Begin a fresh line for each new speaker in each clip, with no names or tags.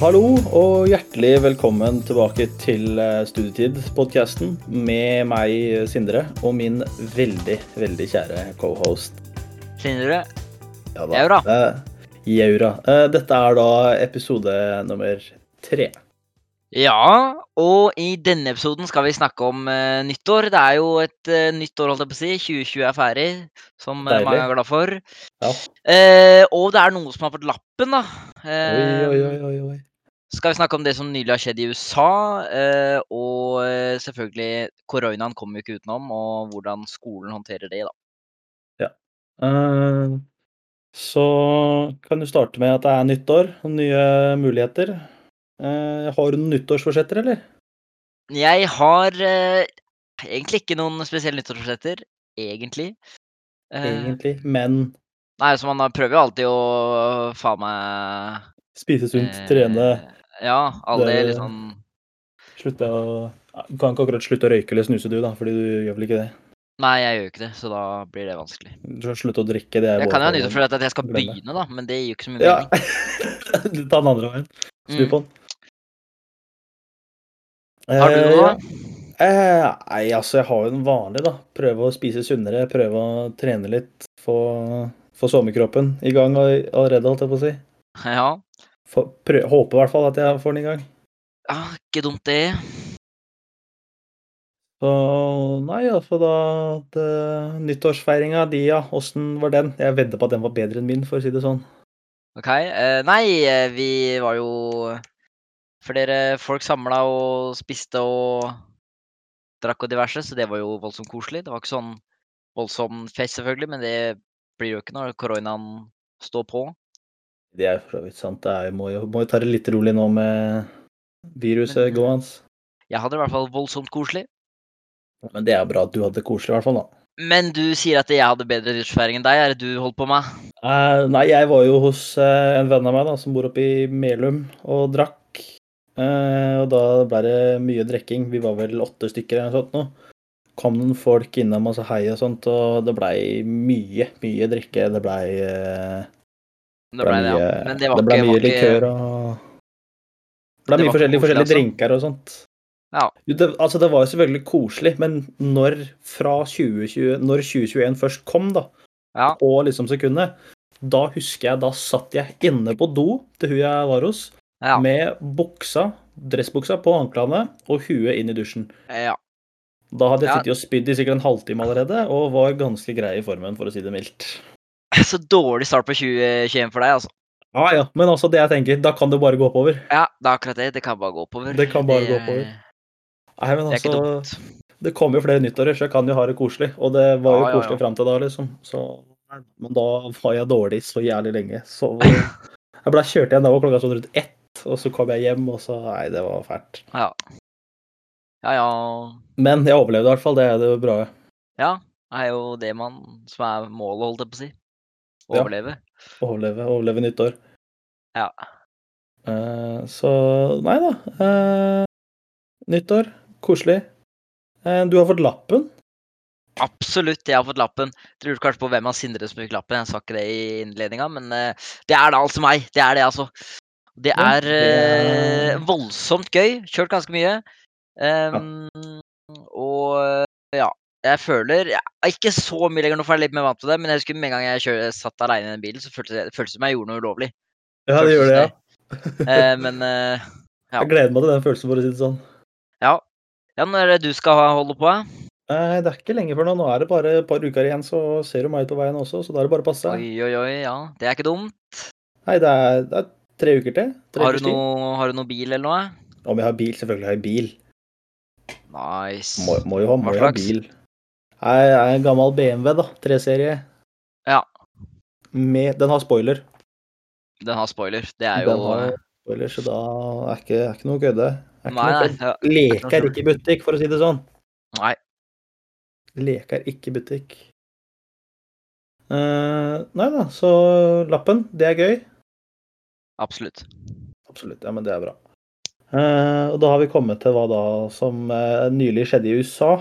Hallo og hjertelig velkommen tilbake til eh, Studietid-podkasten med meg, Sindre, og min veldig, veldig kjære cohost.
Sindre,
Ja,
Jaura.
Eh, Jaura. Eh, Dette er da episode nummer tre.
Ja, og i denne episoden skal vi snakke om eh, nyttår. Det er jo et eh, nytt år, holdt jeg på å si. 2020 er ferdig, som eh,
Deilig.
mange er glad for.
Ja.
Eh, og det er noe som har fått lappen, da.
Oi,
Eh,
oi, oi, oi, oi.
Skal vi snakke om det som nylig har skjedd i USA, eh, og eh, selvfølgelig koronaen kommer vi ikke utenom, og hvordan skolen håndterer det, da.
Eh, Så kan du starte med at det er nyttår og nye muligheter. Eh, Har du noen nyttårsforsetter, eller?
Jeg har eh, egentlig ikke noen spesielle nyttårsforsetter, egentlig. Eh,
Egentlig. Men
Nei, så man da prøver jo alltid å faen meg
spise sunt,
eh,
trene
Ja, alle de
det-
litt sånn
Slutte å Ja, Du kan ikke akkurat slutte å røyke eller snuse, du, da, fordi du gjør vel ikke det?
Nei, jeg gjør jo ikke det, så da blir det vanskelig.
Du skal Slutte å drikke, det er
Jeg kan jo ha nytte for at jeg skal
glem det.
begynne, da, men det gir jo ikke så mye
Ja.
mening.
Ta den andre veien. Snu
Mm.
på den.
Har du noe?
Eh, nei, altså, jeg har jo den vanlige, da. Prøve å spise sunnere, prøve å trene litt. Få, få sommerkroppen i gang all- allerede, holdt jeg på å si.
Ja.
Få, prø- håper i hvert fall at jeg får den i gang.
ja. Ikke dumt, det.
Så nei, altså da at, eh, Nyttårsfeiringa di, ja. Åssen var den? Jeg vedder på at den var bedre enn min, for å si det sånn.
OK. eh, nei, eh, vi var jo flere folk samla og spiste og drakk og diverse, så det var jo voldsomt koselig. Det var ikke sånn voldsom fest, selvfølgelig, men det blir jo ikke når koronaen står på.
Det er jo for så vidt sant. Det er, jo- må jo må jo ta det litt rolig nå med viruset
Men-
gående.
Jeg hadde det i hvert fall voldsomt koselig.
Men det er bra at du hadde det koselig, i hvert fall. da.
Men du sier at jeg hadde bedre nyttårsfeiring enn deg. Er det du holdt på med?
Eh, nei, jeg var jo hos eh, en venn av meg da, som bor oppe i Melum, og drakk. Eh, og da ble det mye drikking. Vi var vel åtte stykker eller noe sånt nå. Kom noen folk innom og sa hei og sånt, og det blei mye, mye drikke. Det blei eh,
Det ble det, ja.
mye-
Men det var
det ble
ikke,
mye
var ikke
likør og Det ble
Det
mye
var ikke
forskjellige,
koselig,
forskjellige
altså.
drinker og sånt.
Ja.
Jo, det, altså, det var jo selvfølgelig koselig, men når fra 2020, når 2021 først kom, da,
Ja.
på liksom sekundet, da husker jeg da satt jeg inne på do til hun jeg var hos,
ja,
med buksa, dressbuksa på anklene og huet inn i dusjen.
ja.
Da hadde jeg
Ja.
sittet og spydd i sikkert en halvtime allerede, og var ganske grei i formen, for å si det mildt.
Så dårlig start på 2021 for deg, altså.
Ja, ja, men altså, det jeg tenker, da kan det bare gå oppover.
Ja, det er akkurat det. Det kan bare gå oppover.
Det kan bare gå
er-
oppover. Nei, men
Det er ikke
altså,
dumt.
det kommer jo flere nyttårer, så jeg kan jo ha det koselig. Og det var jo
Ja, ja, ja.
koselig fram til da, liksom. Så, men da var jeg dårlig så jævlig lenge. Så eh, jeg ble kjørt igjen da var klokka sånn rundt ett, og så kom jeg hjem, og så Nei, det var fælt.
Ja, ja.
Men jeg overlevde i hvert fall, det er det bra.
Ja, det er jo det man som er målet, holdt jeg på å si.
Ja.
Overleve.
Overleve, overleve nyttår.
Ja.
Eh, så nei da. Eh, nyttår, koselig. Eh, du har fått lappen.
Absolutt, jeg har fått lappen. Dere lurte kanskje på hvem av Sindre som fikk lappen. Jeg sa ikke det i innledninga, men eh, det er da altså meg. Det er det, altså. Det
Ja,
er eh,
det er-
voldsomt gøy. Kjørt ganske mye. Ehm, Og eh, ja, jeg føler ja, Ikke så mye lenger, nå for jeg er litt mer vant til det, men jeg husker med en gang jeg kjør, satt aleine i den bilen, så føltes det føltes det som jeg gjorde noe ulovlig.
Ja, det gjør det, ja.
Eh, men eh, ja.
Jeg gleder meg til den følelsen, for å si det sånn.
ja, når er det du skal holde på? eh?
Nei, det er ikke lenge før nå. Nå er det bare et par uker igjen, så ser du meg ut på veien også, så da er det bare å passe seg.
Oi, oi, oi. Ja, det er ikke dumt.
Nei, det er, det er tre uker til. Tre
Har
ukers
du,
tid.
noe, har du noe bil eller noe?
Om jeg har bil? Selvfølgelig har jeg bil.
Nice.
Må, må jo ha,
Hva
må jo ha
slags?
bil. Nei, Jeg er en gammel BMW, da. Treserie.
Ja.
Med, den har spoiler.
Den har spoiler. Det er jo
Den har spoiler, så da er ikke, er ikke noe å kødde. Er ikke
Nei,
noe
nei.
kødd.
ja.
Leker ikke butikk, for å si det sånn.
Nei.
Leker ikke butikk. Eh, nei da, så lappen, det er gøy.
Absolutt.
Absolutt. Ja, men det er bra. Eh, og da har vi kommet til hva da som eh, nylig skjedde i USA.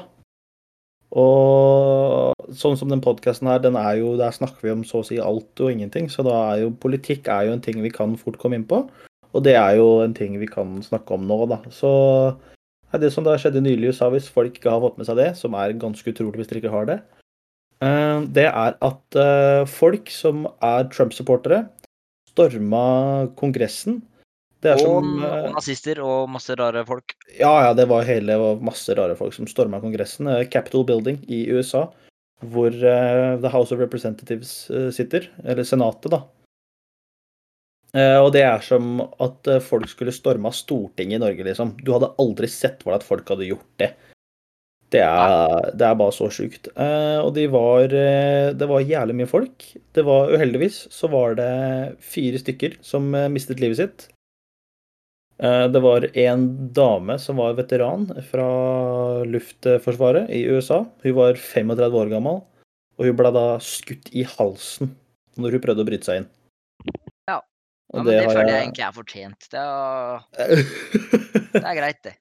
Og sånn som den podkasten her, den er jo, der snakker vi om så å si alt og ingenting. Så da er jo politikk er jo en ting vi kan fort komme inn på. Og det er jo en ting vi kan snakke om nå, da. Så nei, det som da skjedde nylig i USA, hvis folk ikke har fått med seg det, som er ganske utrolig hvis dere ikke har det, eh, det er at eh, folk som er Trump-supportere, storma Kongressen. Det er
Og,
som eh,
og nazister og masse rare folk.
ja, ja, det var hele det var masse rare folk som storma Kongressen. eh, Capitol Building i USA, hvor eh, The House of Representatives eh, sitter. Eller Senatet, da. Eh, og det er som at eh, folk skulle storma Stortinget i Norge, liksom. Du hadde aldri sett hvordan at folk hadde gjort det. Det er, det er bare så sjukt. Eh, og de var eh, Det var jævlig mye folk. Det var uheldigvis så var det fire stykker som eh, mistet livet sitt. Eh, Det var en dame som var veteran fra Luftforsvaret i USA. Hun var 35 år gammel, og hun ble da skutt i halsen når hun prøvde å bryte seg inn.
Ja. Ja,
Og
men det,
har
føler jeg egentlig er fortjent. Det er, det er greit, det.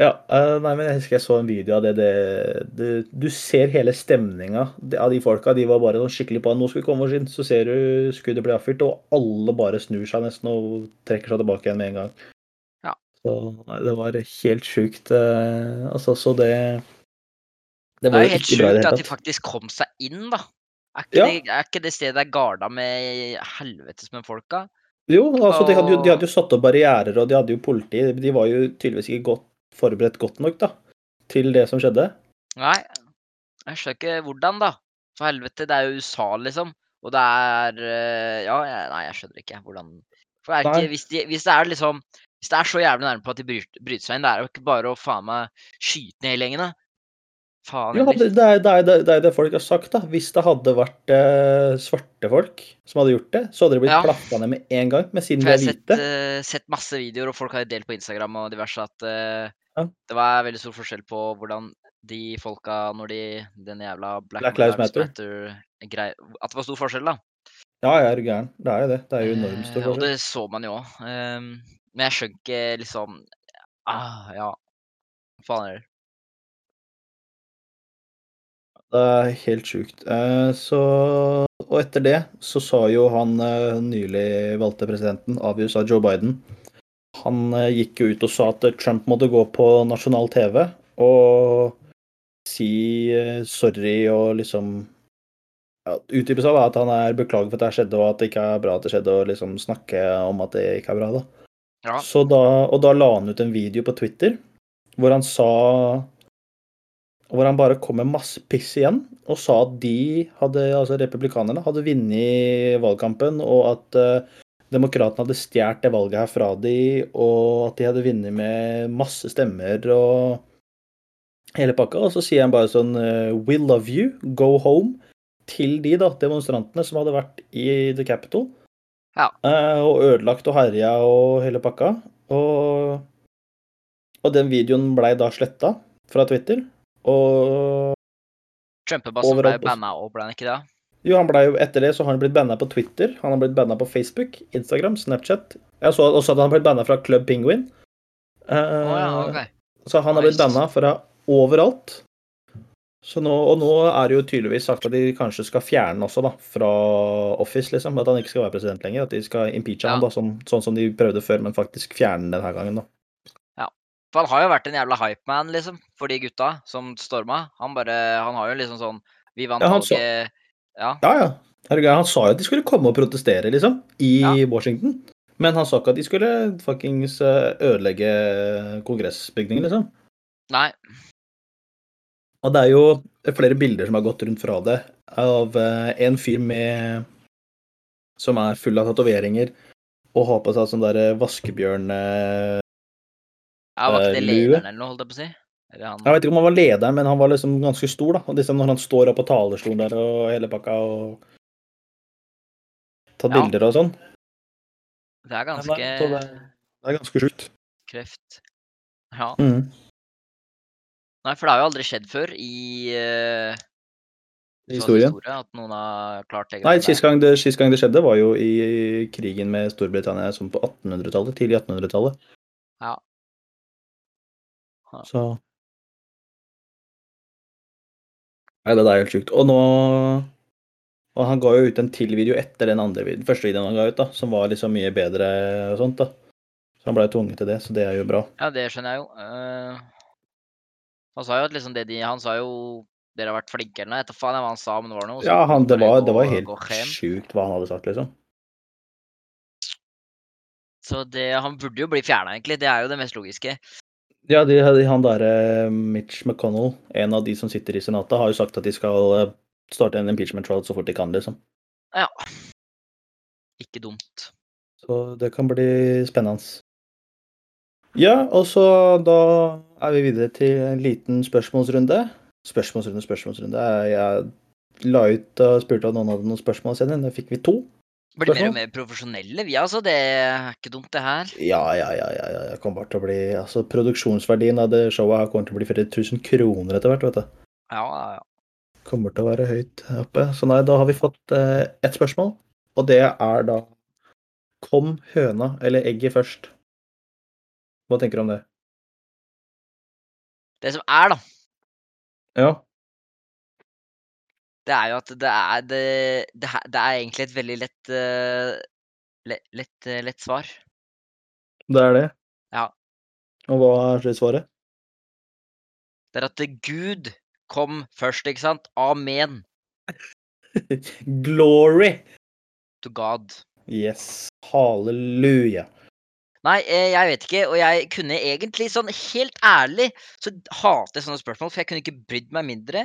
Ja, eh, nei, men jeg husker jeg så en video av det. det, det du ser hele stemninga de- av de folka. De var bare sånn skikkelig på at nå skal vi komme oss inn. Så ser du skuddet bli avfyrt, og alle bare snur seg nesten og trekker seg tilbake igjen med en gang.
Ja.
Så nei, det var helt sjukt. eh, altså, så det Det
Det
var jo
er jo helt
ikke bra i det
sjukt
hele
at de
tatt.
faktisk kom seg inn, da. Er ikke,
Ja.
det, er ikke det stedet der garda med helvetes med folka?
Jo, altså, de hadde jo, de
Og-
hadde jo satt opp barrierer, og de hadde jo politi. De var jo tydeligvis ikke godt, forberedt godt nok da, til det som skjedde.
Nei, jeg skjønner ikke hvordan, da. For helvete, det er jo USA, liksom. Og det er eh, Ja, jeg, nei, jeg skjønner ikke hvordan For det er
Nei.
ikke, hvis, de, hvis det er liksom Hvis det er så jævlig nærme på at de bryter, bryter seg inn, det er jo ikke bare å faen meg skyte ned hele gjengen, da. Faen
Ja,
heller.
det, det, er, det, er, det, er det folk har sagt, da. Hvis det hadde vært eh, svarte folk som hadde gjort det, så hadde de blitt
Ja.
plaffa ned med en gang. Men siden
For
de er
jeg har sett,
hvite
eh, sett masse videoer, og folk har jo delt på Instagram og diverse, at eh,
Ja.
det var veldig stor forskjell på hvordan de folka når de Den jævla Black,
Black Lives Matter.
Matter-grei- At det var stor forskjell, da.
Ja, jeg er gæren. Det er jo det. Det er jo enormt altså. stor
Eh, Og
forskjell.
det så man jo òg. men jeg skjønner ikke liksom ah, Ja. Faen heller.
Det er helt sjukt. Eh, så Og etter det så sa jo han eh, nylig valgte presidenten av USA, Joe Biden Han eh, gikk jo ut og sa at Trump måtte gå på nasjonal TV og si eh, sorry og liksom ja, Utdype seg, da. At han er beklager for at det her skjedde, og at det ikke er bra at det skjedde, og liksom snakke om at det ikke er bra, da.
Ja.
Så da, og da la han ut en video på Twitter hvor han sa Hvor han bare kom med masse piss igjen og sa at de, hadde, altså republikanerne, hadde vunnet valgkampen, og at uh, demokratene hadde stjålet det valget her fra de, og at de hadde vunnet med masse stemmer og hele pakka. Og så sier han bare sånn eh, We love you, go home. Til de da, demonstrantene som hadde vært i The Capitol.
Ja.
Eh, og ødelagt og herja og hele pakka. Og, og den videoen blei da sletta fra Twitter. Og
Trumpebassen ble
Overalt altså. også.
banna òg, ble han ikke det?
jo, han ble jo etter det så har han blitt banna på Twitter, han har blitt banna på Facebook, Instagram, Snapchat. Jeg så også at han har blitt banna fra Club Penguin. Eh,
Å ja, ok.
Så han har blitt
Nice.
banna fra overalt. Så nå, og nå er det jo tydeligvis sagt at de kanskje skal fjerne han også, da, fra Office, liksom. At han ikke skal være president lenger. At de skal impeache han,
Ja.
da, sånn, sånn som de prøvde før, men faktisk fjerne den her gangen, da.
For han har jo vært en jævla hypeman, liksom, for de gutta som storma. Han bare Han har jo liksom sånn Vi vant
Ja, han så-
valget Ja.
Ja, ja. Er du gæren? Han sa jo at de skulle komme og protestere, liksom, i
Ja.
Washington. Men han sa ikke at de skulle fuckings eh, ødelegge kongressbygningen, liksom.
Nei.
Og det er jo flere bilder som har gått rundt fra det, av eh, en fyr med Som er full av tatoveringer og har på seg sånn derre vaskebjørn eh,
Jeg var ikke det
Eh, lue.
lederen eller noe, holdt jeg på å si? Eller han
Jeg vet ikke om han var lederen, men han var liksom ganske stor, da. Og liksom når han står opp på talerstolen der og hele pakka og Tatt
Ja.
bilder og sånn. Mm.
Det er
Ja, nei, så
ganske
det- Det er ganske sjukt.
kreft. Ja.
Mm.
Nei, for det har jo aldri skjedd før i eh, USAs
Historien.
historie at noen har klart det.
Nei,
greiene der.
sist gang, det, sist gang det skjedde, var jo i krigen med Storbritannia sånn på 1800-tallet. Tidlig 1800-tallet.
Ja.
Så Nei, det der er helt sjukt. Og nå Og han ga jo ut en til video etter den andre videoen, første videoen han ga ut, da, som var liksom mye bedre og sånt, da. Så han blei tvunget til det, så det er jo bra.
Ja, det skjønner jeg jo. Eh, han sa jo at liksom det de Han sa jo dere har vært flinke eller noe. Jeg vet da faen jeg hva han sa, men det var noe. så
Ja, han, det,
bare
var,
gå-
det var
gå
helt
hjem.
sjukt hva han hadde sagt, liksom.
Så det, han burde jo bli fjerna, egentlig. Det er jo det mest logiske.
Ja, de, han derre Mitch McConnell, en av de som sitter i senatet, har jo sagt at de skal eh, starte en impeachment trial så fort de kan, liksom.
Ja. Ikke dumt.
Så det kan bli spennende. Ja, og så da er vi videre til en liten spørsmålsrunde. Spørsmålsrunde, spørsmålsrunde. Jeg- Jeg la ut og spurte om noen hadde noen spørsmål å sende inn. Da fikk vi to.
Blir mer
Spørsmål?
og mer profesjonelle, vi altså. Det er ikke dumt, det her.
Ja, ja, ja, ja, ja. Jeg kommer bare til å bli Altså, produksjonsverdien av det showet her kommer til å bli 4000 kroner etter hvert, vet du.
Ja, ja, ja.
kommer til å være høyt oppe. Så nei, da har vi fått eh, ett spørsmål, og det er da Kom høna eller egget først? Hva tenker du om det?
Det som er, da,
Ja.
det er jo at det er Det, det, her- det er egentlig et veldig lett eh, le- lett, eh, lett svar.
Det er det?
Ja.
Og hva er det svaret?
Det er at eh, Gud kom først, ikke sant? Amen
Glory!
to God.
Yes. Halleluja.
Nei, eh, jeg vet ikke, og jeg kunne egentlig sånn helt ærlig så hater jeg sånne spørsmål, for jeg kunne ikke brydd meg mindre.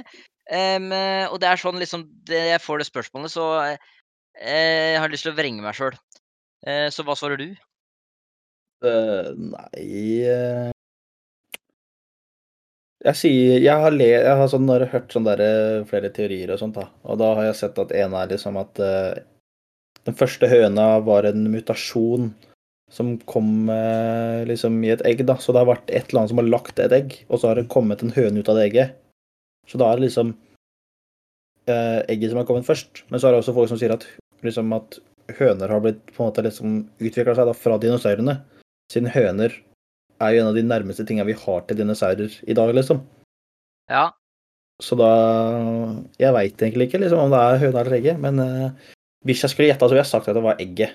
Em, eh, og det er sånn liksom det, Jeg får det spørsmålet, så eh, eh, jeg har lyst til å vrenge meg sjøl. Eh, så hva svarer du?
Eh, nei eh, Jeg sier Jeg har, le, jeg har sånn, når jeg har hørt sånn der, eh, flere teorier og sånt, da. Og da har jeg sett at en er liksom at eh, den første høna var en mutasjon som kom eh, liksom i et egg, da. Så det har vært et eller annet som har lagt et egg, og så har det kommet en høne ut av det egget. Så da er det liksom eh, egget som har kommet først. Men så er det også folk som sier at, liksom, at høner har blitt på en måte liksom utvikla seg da, fra dinosaurene siden høner er jo en av de nærmeste tinga vi har til dinosaurer i dag, liksom.
Ja,
Så da Jeg veit egentlig ikke liksom, om det er høna eller egget, men eh, hvis jeg skulle gjette, så ville jeg sagt at det var egget.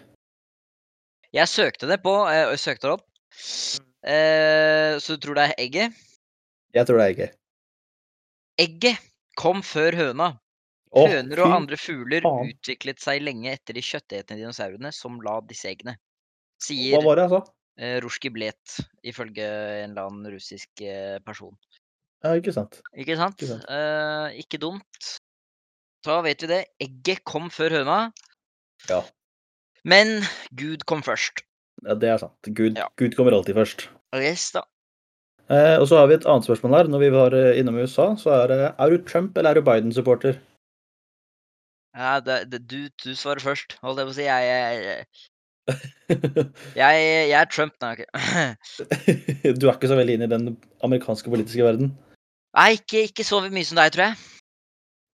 jeg søkte det på. eh, og søkte det opp.
Mm.
Eh, så du tror det er egget?
Jeg tror det er egget.
Egget kom før høna.
Å,
Høner og
fy
andre fugler
faen.
utviklet seg lenge etter de kjøttetende dinosaurene som la disse eggene,
Hva
sier
var det altså? jeg sa?
eh, Rusjki Blet, ifølge en eller annen russisk eh, person.
Ja, ikke sant.
Ikke sant?
Ikke sant.
Eh, ikke dumt. Da vet vi det. Egget kom før høna.
Ja.
Men Gud kom først.
Ja, det er sant. Gud,
Ja.
Gud kommer alltid først.
Yes, da.
Eh, og så har vi et annet spørsmål her. Når vi var eh, innom USA, så er det Er du Trump eller er du Biden-supporter?
Ja, det, det, du, du svarer først, holdt jeg på å si. Jeg, jeg,
du
jeg, jeg, jeg er Trump, nei. ok.
er ikke så veldig inn i den amerikanske politiske verden?
Nei, ikke, ikke så mye som deg, tror jeg.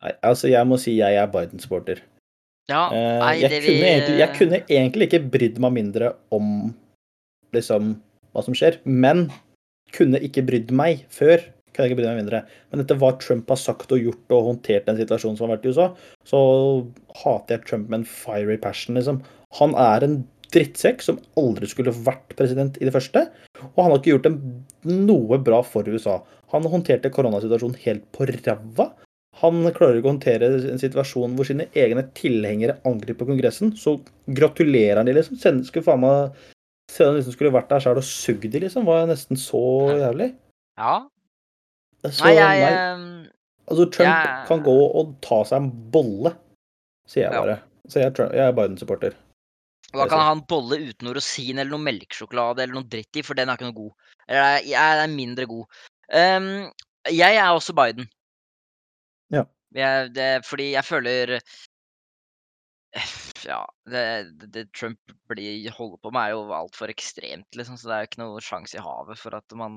Nei, altså, jeg må si jeg er Biden-supporter.
Ja,
Eh,
nei,
jeg,
det
kunne
vi-
egentlig, jeg kunne egentlig ikke brydd meg mindre om liksom hva som skjer, men kunne ikke brydd meg før. Kunne jeg ikke brydd meg mindre. Men etter hva Trump har sagt og gjort og håndtert den situasjonen som har vært i USA, så hater jeg Trump med en fiery passion, liksom. Han er en drittsekk som aldri skulle vært president i det første, og han har ikke gjort en, noe bra for USA. Han håndterte koronasituasjonen helt på ræva. Han klarer ikke å håndtere en situasjon hvor sine egne tilhengere angriper Kongressen. Så gratulerer han de, liksom. Send- Skulle faen meg Se han liksom skulle vært der sjøl og sugd de, liksom. Var nesten så jævlig.
Ja.
Så
Nei,
nei,
jeg ehm,
Altså, Trump
jeg-
kan gå og ta seg en bolle, sier jeg
Ja.
bare. Så jeg er, Trump- jeg er Biden-supporter.
Da
Det
kan
ser-
han bolle uten noe rosin eller noe melkesjokolade eller noe dritt i, for den er ikke noe god. Eller er- jeg er mindre god. Ehm, jeg er også Biden.
Ja.
Jeg, det, fordi jeg føler Ja, det, det- det Trump blir, holder på med, er jo altfor ekstremt, liksom. Så det er jo ikke noe sjanse i havet for at man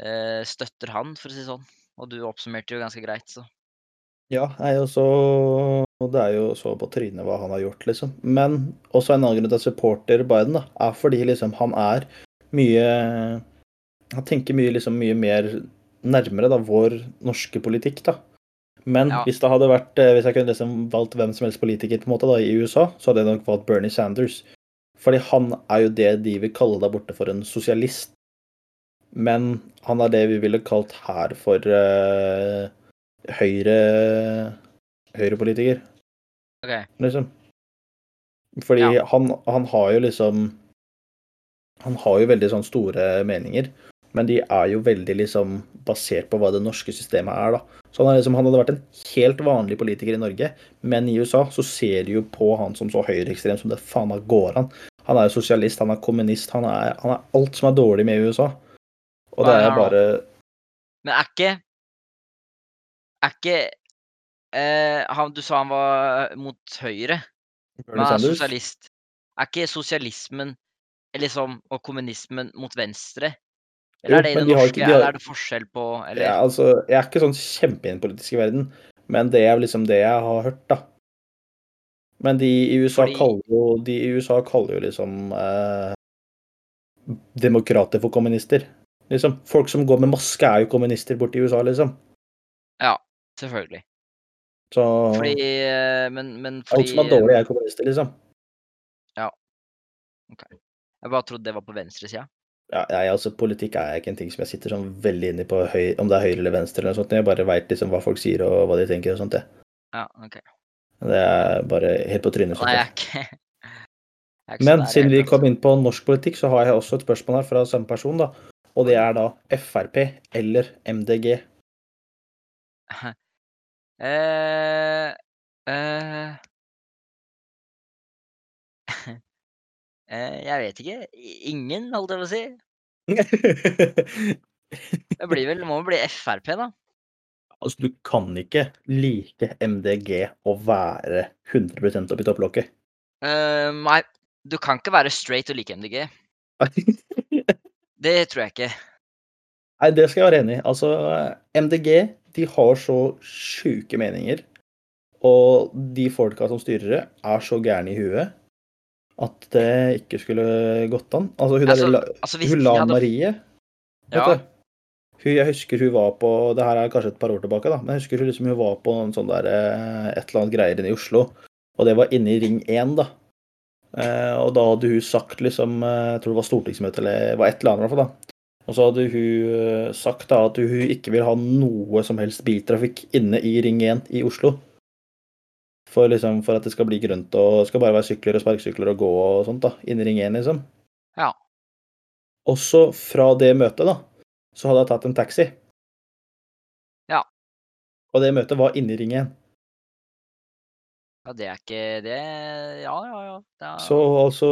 eh, støtter han, for å si det sånn. Og du oppsummerte jo ganske greit, så.
Ja, nei, og så- og det er jo så på trynet hva han har gjort, liksom. Men også en annen grunn til at jeg supporter Biden, da, er fordi liksom han er mye Han tenker mye, liksom, mye mer nærmere da, vår norske politikk, da. Men
Ja.
hvis det hadde vært, eh, hvis jeg kunne liksom valgt hvem som helst politiker på en måte da, i USA, så hadde jeg nok valgt Bernie Sanders. Fordi han er jo det de vil kalle der borte for en sosialist. Men han er det vi ville kalt her for eh, høyre høyrepolitiker,
OK.
liksom. Fordi
Ja.
han, han har jo liksom Han har jo veldig sånn store meninger, men de er jo veldig liksom basert på hva det norske systemet er, da. Så han, er liksom, han hadde vært en helt vanlig politiker i Norge, men i USA så ser de jo på han som så høyreekstrem som det faen meg går an. Han er jo sosialist, han er kommunist, han er, han er alt som er dårlig med USA. Og det
Hva er
er
han da?
bare
Men er ikke Er ikke eh, han, Du sa han var mot høyre.
Bernie
Men han er
Sanders.
sosialist. Er ikke sosialismen eh, liksom, og kommunismen mot venstre?
Jo,
Eller er det i
men de
det
har
norske,
ikke- de har-
eller er det forskjell på eller?
Ja, altså, jeg er ikke sånn kjempe i den politiske verden, men det er liksom det jeg har hørt, da. Men de i USA
Fordi-
kaller jo De i USA kaller jo liksom eh, demokrater for kommunister. Liksom, Folk som går med maske, er jo kommunister borti USA, liksom.
Selvfølgelig.
Så
Fordi eh, Men, men
alt
fordi eh,
som er dårlig, er kommunister, liksom.
Jeg bare trodde det var på venstresida.
Ja, jeg, altså, Politikk er ikke en ting som jeg sitter sånn veldig inni på, høy, om det er høyre eller venstre. eller noe sånt. Jeg bare veit liksom hva folk sier og hva de tenker og sånt. Det,
Ja, OK.
det er bare helt på trynet. sånt,
Nei,
det.
jeg er ikke jeg er ikke så
Men
der
siden vi
helt, altså.
kom inn på norsk politikk, så har jeg også et spørsmål her fra samme person, da. Og det er da Frp eller MDG.
Eh, eh, eh, Jeg vet ikke. I- Ingen, holdt jeg på å si.
altså,
Det blir vel, må bli Frp, da.
Altså, du kan ikke like MDG og være 100 oppi topplokket.
Eh, nei, du kan ikke være straight og like MDG. Det tror jeg ikke.
Nei, det skal jeg være enig i. Altså, MDG de har så sjuke meninger. Og de folka som styrer det, er så gærne i huet at det ikke skulle gått an. Altså, hun
Altså,
der, la-
Altså, hvis
hun
de
Lan
hadde
Marie Vet
Ja.
du? Hun, jeg husker hun var på Det her er kanskje et par år tilbake, da. Men jeg husker hun, liksom, hun var på en sånn der, eh, et eller annet greier inne i Oslo. Og det var inne i Ring 1, da. Eh, og da hadde hun sagt liksom eh, Jeg tror det var stortingsmøte eller det var et eller annet. i hvert fall da. Og så hadde hun eh, sagt da at hun ikke vil ha noe som helst biltrafikk inne i Ring 1 i Oslo. For, liksom, for at det skal bli grønt og det skal bare være sykler og sparkesykler og gå og sånt da, inne i Ring 1, liksom.
Ja.
Også fra det møtet, da, så hadde jeg tatt en taxi.
Ja.
Og det møtet var inne i Ring 1.
Ja, det er ikke Det Ja, ja, ja. Det er,
Så altså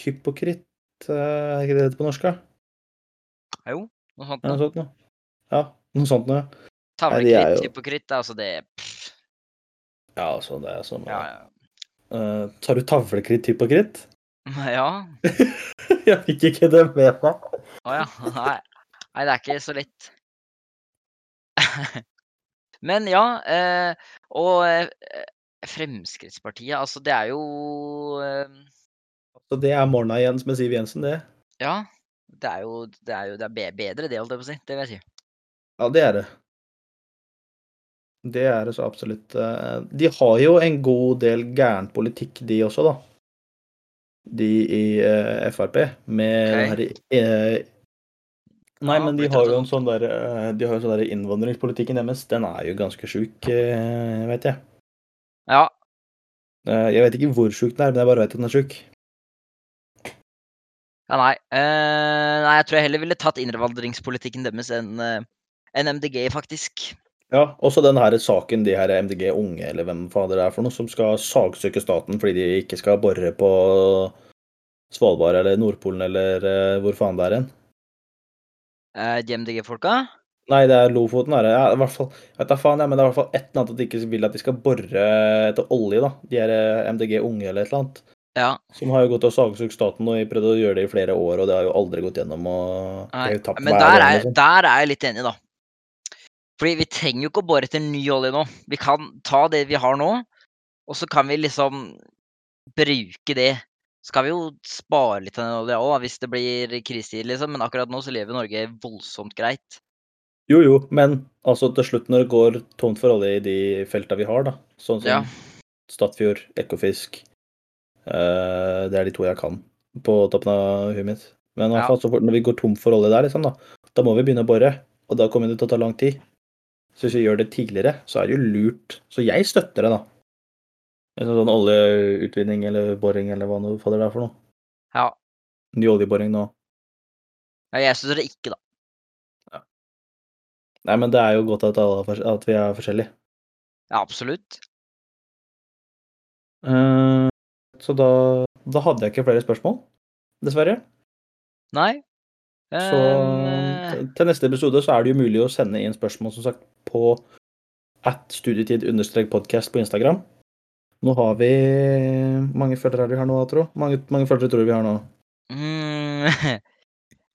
hypokrit eh, Er ikke det det heter på norsk? da?
Jo, noe sånt.
Er det noe sånt
noe.
noe? Ja, noe sånt noe. Nei, de er
Tavlekritt,
jo-
hypokritt, altså det pff,
Ja, altså, det er som
Ja, ja.
eh, Tar du tavlekritt hypokrit?
Ja.
jeg fikk ikke det med meg.
Å ja. Nei. Nei, det er ikke så lett. Men ja, eh, og eh, Fremskrittspartiet, altså det er jo eh,
Så det er morgena igjen med Siv Jensen, det.
Ja, det er jo, det er jo det er be- bedre det, holdt jeg på å si. Det vil jeg si.
Ja, det er det. Det er det så absolutt. eh, De har jo en god del gæren politikk, de også, da. De i eh, Frp, med den
Ok.
herre eh, Nei,
Ja,
men de
blir
har
tatt
jo en sånn der eh, De har jo sånn der innvandringspolitikken deres. Den er jo ganske sjuk, eh, vet jeg.
Ja,
Eh, Jeg vet ikke hvor sjuk den er, men jeg bare vet at den er sjuk.
Ja, nei. Eh, nei, jeg tror jeg heller ville tatt innvandringspolitikken deres enn eh, enn MDG, faktisk.
Ja, også den her saken de her MDG Unge, eller hvem fader det er for noe, som skal sagsøke staten fordi de ikke skal bore på Svalbard eller Nordpolen eller eh, hvor faen det er hen.
Eh, de MDG-folka.
Nei, det er Lofoten, er det. Ja, i hvert fall, jeg vet da faen, ja, men det er i hvert fall et eller annet at de ikke vil at de skal bore etter olje, da. De her eh, MDG Unge eller et eller annet.
Ja.
Som har jo gått og sagsøkt staten og prøvd å gjøre det i flere år, og det har jo aldri gått gjennom. Og det
Nei,
er jo tapt
Men
hver
der
gang,
er,
liksom.
der er jeg litt enig, da. Fordi vi trenger jo ikke å bore etter ny olje nå. Vi kan ta det vi har nå, og så kan vi liksom bruke det. Så kan vi jo spare litt av den olja òg, hvis det blir krisetid, liksom. Men akkurat nå så lever Norge voldsomt greit.
Jo, jo, men altså til slutt når det går tomt for olje i de felta vi har, da, sånn som
Ja.
Statfjord, Ekofisk eh, Det er de to jeg kan. på toppen av huet mitt. Men i hvert
Ja.
fall så fort når vi går tom for olje der, liksom, da, da må vi begynne å bore. Og da kommer det til å ta lang tid. Så hvis vi gjør det tidligere, så er det jo lurt. Så jeg støtter det, da. En sånn- sånn oljeutvinning eller boring eller hva nå fader det er for noe.
Ja.
Ny oljeboring nå.
Ja, jeg støtter det ikke, da.
Nei, men det er jo godt at, alle, er fors- at vi er forskjellige.
Ja, absolutt.
Eh, så da, da hadde jeg ikke flere spørsmål, dessverre.
Nei.
Så um,
Eh,
t- til neste episode så er det jo mulig å sende inn spørsmål som sagt på at studietid-podcast på Instagram. Nå har vi mange følgere vi har nå, tro. Mange, mange følgere tror jeg vi har nå.
mm, eh,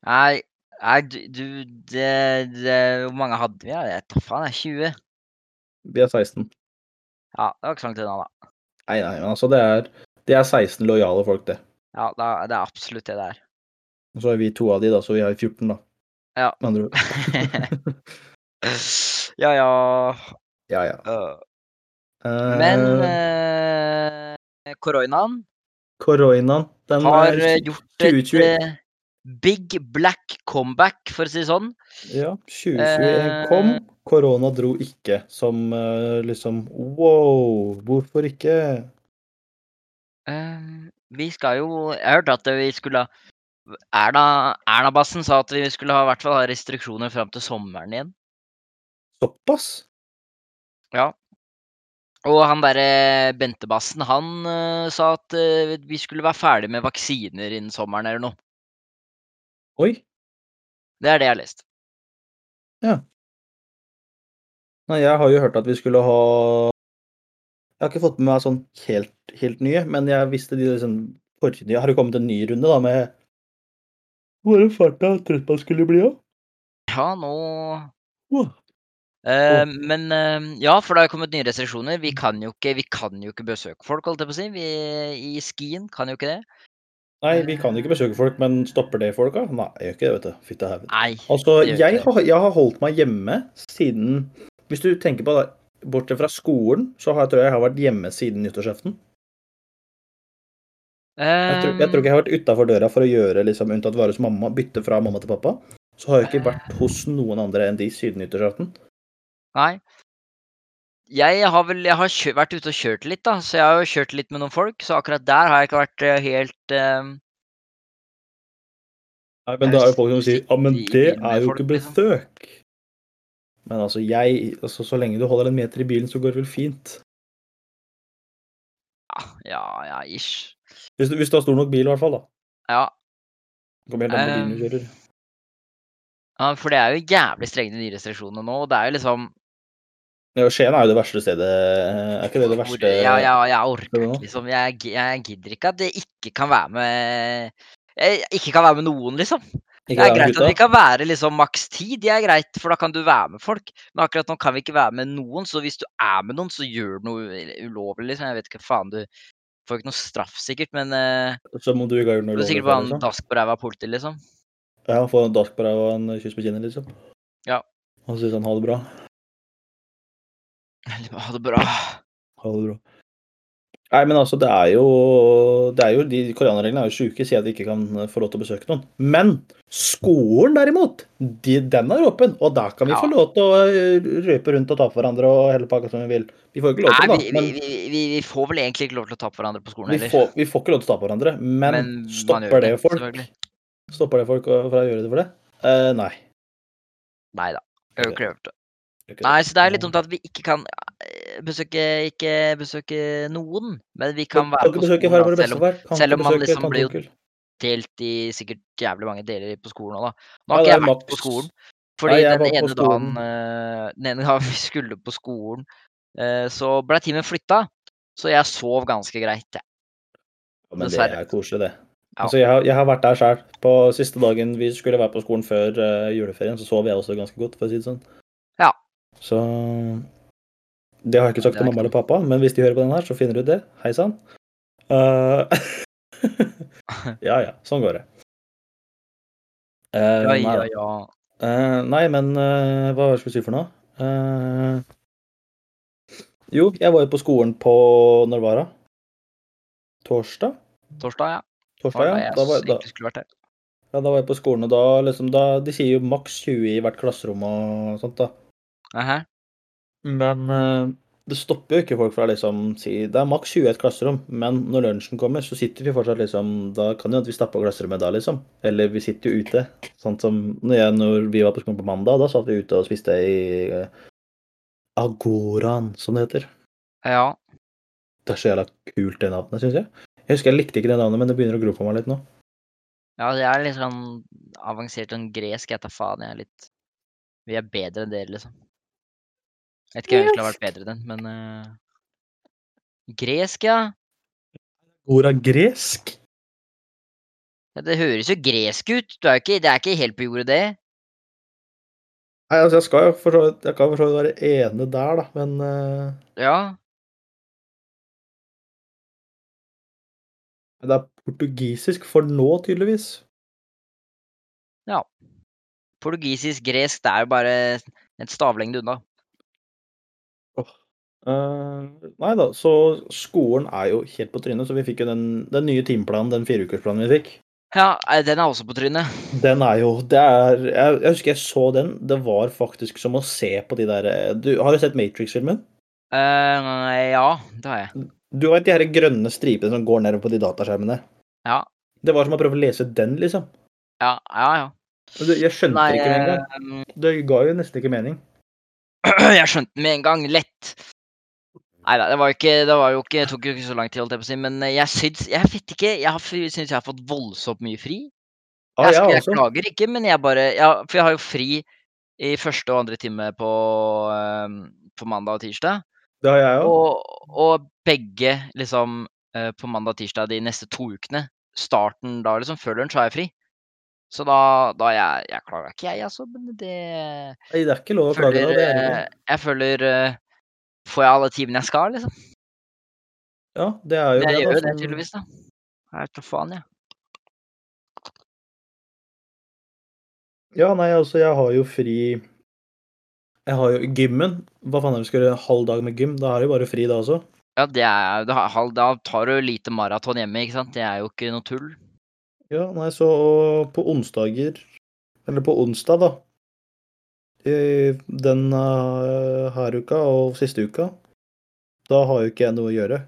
Nei, nei, du, du det, det, Hvor mange hadde vi? da? Jeg tar faen, jeg. 20?
Vi er 16.
Ja, det var ikke så langt unna, da.
Nei, nei, men altså det er, det er 16 lojale folk, det.
Ja, da, det er absolutt det det er.
Og så er vi to av de, da, så vi har 14, da.
Ja.
Med andre ord.
ja, ja.
Ja, ja.
øh.
Eh,
Men eh, koronaen
Koronaen, den
har eh,
er
gjort et
2021.
eh, big black comeback, for å si det sånn.
Ja, 2021 kom,
Eh.
korona dro ikke. Som eh, liksom wow, hvorfor ikke?
Eh, vi skal jo Jeg hørte at vi skulle ha Erna, Erna-bassen sa at vi skulle ha, i hvert fall ha restriksjoner fram til sommeren igjen.
Såpass?
Og han derre Bente-bassen, han eh, sa at eh, vi skulle være ferdig med vaksiner innen sommeren eller noe.
Oi.
Det er det jeg har lest.
Nei, jeg har jo hørt at vi skulle ha Jeg har ikke fått med meg sånn helt, helt nye, men jeg visste de liksom forrige nye. Har det kommet en ny runde, da, med Hvor er farta trøtt man skulle bli av?
Ja, nå
Wow.
Eh, Men eh, ja, for det har kommet nye restriksjoner. Vi kan jo ikke, vi kan jo ikke besøke folk, holdt jeg på å si. Vi, I skien kan jo ikke det.
Nei, vi kan ikke besøke folk, men stopper det folk, da? Nei, jeg gjør ikke det, vet du. Fytte haugen.
Nei.
Altså,
Det gjør
jeg
ikke
har, jeg har holdt meg hjemme siden Hvis du tenker på det, bortsett fra skolen, så har, jeg tror jeg jeg har vært hjemme siden nyttårsaften.
Eh,
Jeg tror, jeg tror ikke jeg har vært utafor døra for å gjøre liksom, unntatt være hos mamma, bytte fra mamma til pappa. Så har jeg ikke vært hos noen andre enn de siden nyttårsaften.
Nei. Jeg har vel jeg har kjø vært ute og kjørt litt, da. Så jeg har jo kjørt litt med noen folk. Så akkurat der har jeg ikke vært eh, helt eh,
Nei, men
Jeg
da er
er
jo folk som sier Ja, men
i
det
bilen med
er jo
folk,
ikke
liksom.»
besøk. Men altså, jeg altså, Så lenge du holder en meter i bilen, så går det vel fint.
ah, Ja, ja, ish.
Hvis du, hvis du har stor nok bil, i hvert fall, da.
Ja.
Det Kommer helt an på bilen du
Eh,
kjører.
ja, for det er jo jævlig strenge de nye restriksjonene nå. Og det er jo liksom
Ja, Skien er jo det verste stedet eh, Er ikke det det verste
ja, ja, jeg orker
det nå?
ikke, liksom. Jeg, gi- jeg gidder ikke at det ikke kan være med jeg ikke kan være med noen, liksom.
Ikke
Det
det
er
med
greit at
gutta?
vi kan være liksom maks ti, det er greit, for da kan du være med folk. Men akkurat nå kan vi ikke være med noen, så hvis du er med noen, så gjør du noe u- ulovlig, liksom. Jeg vet ikke, faen, du får ikke noe straff sikkert, men eh,
Som om du ikke har gjort noe
du får
lovlig
sikkert på
før,
en
liksom?
dask på ræva av politi, liksom.
Ja, få en dask på deg og en kyss på kinnet, liksom?
Ja.
Og så sier han ha det bra.
Eller, Ha det bra.
Ha det bra. Nei, men altså, det er jo, det er jo De koreanerreglene er jo sjuke, sier at de ikke kan eh, få lov til å besøke noen. Men skolen, derimot, de, den er åpen, og der kan vi
Ja.
få lov til å eh, røpe rundt og ta på hverandre og hele pakka som vi vil. Vi får ikke lov
Nei,
til det, da.
vi, vi,
Men
vi, vi, vi får vel egentlig ikke lov til å ta på hverandre på skolen
vi
heller.
får, vi får ikke lov til å ta på hverandre. Men,
man gjør
stopper det folk?
selvfølgelig.
Stopper det folk å- fra å gjøre det for det? Eh, nei.
Nei da. Jeg har jo ikke hørt det.
Gjør ikke det.
Nei, så det er litt
Mm.
dumt at vi ikke kan eh, besøke, ikke besøke noen, men vi kan være
Kan
på
ikke besøke
skolen da,
farmor og
selv om
bestefar. Kan
selv
ikke
om man
besøke
liksom
tante
blir
og
jo-
onkel.
delt i sikkert jævlig mange deler på skolen òg, da.
Ja,
Nå har
det
ikke
er
jeg vært på
maks-
skolen.
Nei,
Fordi
jeg
den
var på
ene, dagen,
skolen.
eh, den ene dagen vi skulle på skolen, eh, så ble timen flytta. Så jeg sov ganske greit. jeg.
Ja, men det
Dessverre.
er koselig, det.
Ja.
Altså, jeg, har, jeg har vært der sjøl. På siste dagen vi skulle være på skolen før eh, juleferien, så sov jeg også ganske godt, for å si det sånn.
Ja.
Så Det har jeg ikke sagt
Det er
til mamma eller pappa, men hvis de hører på den her, så finner du det. Hei sann. Eh, ja ja, sånn går det. Eh,
Ja,
nei da.
ja, ja.
Eh, nei, men eh, hva var det jeg skulle si for noe? Eh, jo, jeg var jo på skolen på Når var det? Torsdag?
Torsdag, ja.
Torsdag,
da
ja.
jeg
Da var, da,
egentlig skulle vært der.
ja. da var jeg på skolen, og da liksom da, De sier jo maks 20 i hvert klasserom og sånt, da.
Aha.
Men eh, det stopper jo ikke folk fra liksom si Det er maks 20 i et klasserom, men når lunsjen kommer, så sitter vi fortsatt liksom Da kan det jo at vi stapper klasserommet da, liksom. Eller vi sitter jo ute. Sånn som når, jeg, når vi var på skolen på mandag, da satt vi ute og spiste i eh, Agoraen, som det heter.
Ja.
Det er så jævla kult, det navnet, syns jeg. Jeg husker jeg likte ikke det navnet, men det begynner å gro på meg litt nå.
ja, det er litt sånn avansert enn gresk. Jeg tar faen, jeg er litt Vi er bedre enn dere, liksom. Jeg vet ikke hvem som skulle ha vært bedre enn den, men eh, Gresk, ja.
Ordet gresk?
ja. Det høres jo gresk ut. Du er jo ikke, det er ikke helt på jordet, det.
Nei, altså, jeg skal jo for så vidt Jeg kan for så vidt være ene der, da, men eh,
Ja.
Det er portugisisk for nå, tydeligvis.
Portugisisk, gresk, det er jo bare en stavlengde unna.
Eh, nei da, så skolen er jo helt på trynet, så vi fikk jo den, den nye timeplanen, den fireukersplanen vi fikk.
Ja, eh, den er også på trynet.
Den er jo det er, jeg, jeg husker jeg så den. Det var faktisk som å se på de der eh, du, Har du sett Matrix-filmen?
Eh, nei, ja, det har jeg.
Du vet de her grønne stripene som går nedover på de dataskjermene?
Ja.
Det var som å prøve å lese den, liksom.
Ja, ja. ja.
Og det- Jeg skjønte
Nei,
det ikke med en gang. Det ga jo nesten ikke mening.
eh, jeg skjønte den med en gang. Lett. Nei da, det var jo ikke Det var jo ikke, det tok jo ikke så lang tid, holdt jeg på å si, men eh, jeg syns Jeg vet ikke, jeg har f- syns jeg har fått voldsomt mye fri.
Ah, ja,
jeg, skal- jeg
altså.
klager ikke, men jeg bare ja, For jeg har jo fri i første og andre time på, eh, på mandag og tirsdag.
Det har jeg òg.
Og, og begge, liksom, eh, på mandag og tirsdag de neste to ukene, starten da, liksom, før lunsj, har jeg fri. Så da, da jeg, jeg klager ikke, jeg, altså. Men det
Nei, Det er ikke lov å klage.
føler,
da, Det er
eh,
det.
Jeg føler eh, Får jeg alle timene jeg skal, liksom?
Ja, det er jo
Jeg
da,
gjør jo det,
som-
tydeligvis, da. Jeg vet da faen, jeg.
Ja, nei, altså, jeg har jo fri Jeg har jo gymmen. Hva faen er det vi skal gjøre en halv dag med gym? Da er det jo bare fri da også.
Ja, det er, da, hal- da tar du lite maraton hjemme, ikke sant? Det er jo ikke noe tull.
Ja, nei, så og på onsdager Eller på onsdag, da. i Den eh, her uka og siste uka. Da har jo ikke jeg noe å gjøre.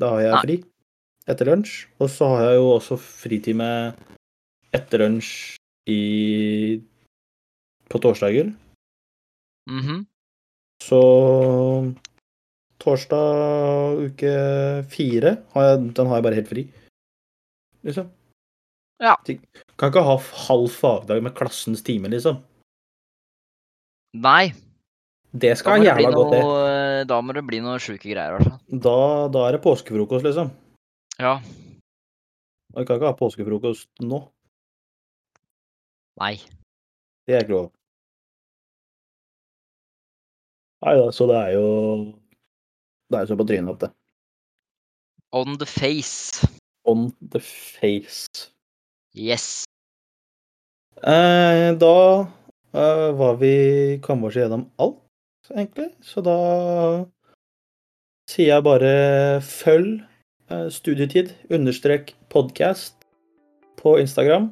Da har jeg
Nei.
fri etter lunsj. Og så har jeg jo også fritime etter lunsj i På torsdager.
Mhm.
Så torsdag uke fire har jeg, den har jeg bare helt fri. Liksom.
Ja.
Ting- Kan ikke ha f- halv fagdag med klassens time, liksom.
Nei.
Det
Da
skal
må, det
jævla
bli
godt, det.
noe, eh, da må det bli noe sjuke greier, i hvert fall.
Da, da er det påskefrokost, liksom.
Ja.
Og vi kan ikke ha påskefrokost nå.
Nei.
Det er ikke lov. Nei da, så det er jo Det er jo så på trynet at det.
On the face.
On the face.
Yes.
Eh, da eh, var vi kom oss igjennom alt, egentlig. Så da sier jeg bare følg eh, studietid understrek podcast på Instagram.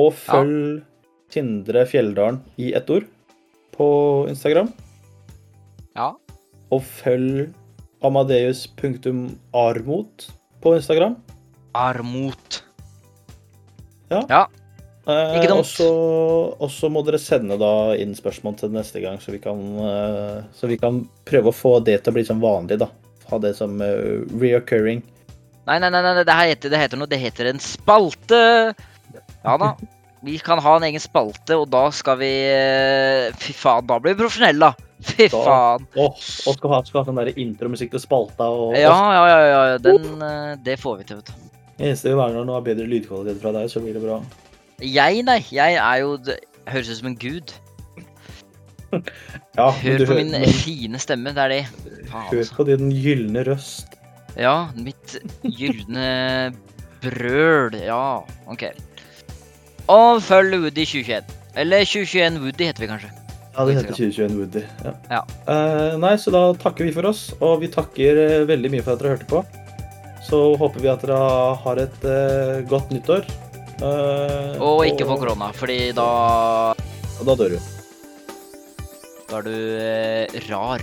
Og følg Sindre Fjelldalen i ett ord på Instagram.
Ja.
Og følg amadeus.armot på Instagram.
Armot.
Eh,
Ikke dumt.
og så- Og så må dere sende da inn spørsmål til neste gang, så vi kan, eh, så vi kan prøve å få det til å bli som vanlig, da. Ha det som eh, reoccurring.
Nei, nei, nei, nei det, her heter, det heter noe. Det heter en spalte. Ja da. Vi kan ha en egen spalte, og da skal vi eh, Fy faen, da blir vi profesjonelle, da. Fy
Da.
faen.
Og, og skal ha, skal ha sånn der intromusikk til spalta og
Ja, ja, ja. ja, ja. Den, eh, det får vi til, vet du.
Det eneste vi mangler nå, er bedre lydkvalitet fra deg, så blir det bra.
Jeg, nei. Jeg er jo d- Høres ut som en gud.
Ja, men
Hør
du
på
hører-
min
men
fine stemme. Det er det. Faen,
Hør
altså.
på din gylne røst.
Ja, mitt gylne brøl. Ja, OK. Og følg Woody 2021. Eller 2021 Woody heter vi kanskje.
Ja, det heter 2021 Woody. Ja.
Ja.
Eh, nei, så da takker vi for oss, og vi takker eh, veldig mye for at dere hørte på. Så håper vi at dere har et eh, godt nyttår. Eh,
Og ikke få korona, fordi da,
og Da dør du.
da er du eh, rar.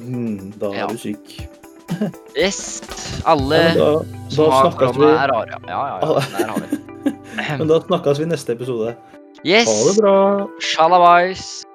Mm, da
Ja.
er du syk.
Yes! Alle
Ja, men da, da
som har
snakkes
korona,
vi-
er rare. Ja, ja, ja. ja. Der har vi det.
men da snakkes vi i neste episode.
Yes!
Ha det bra.
Shalabais!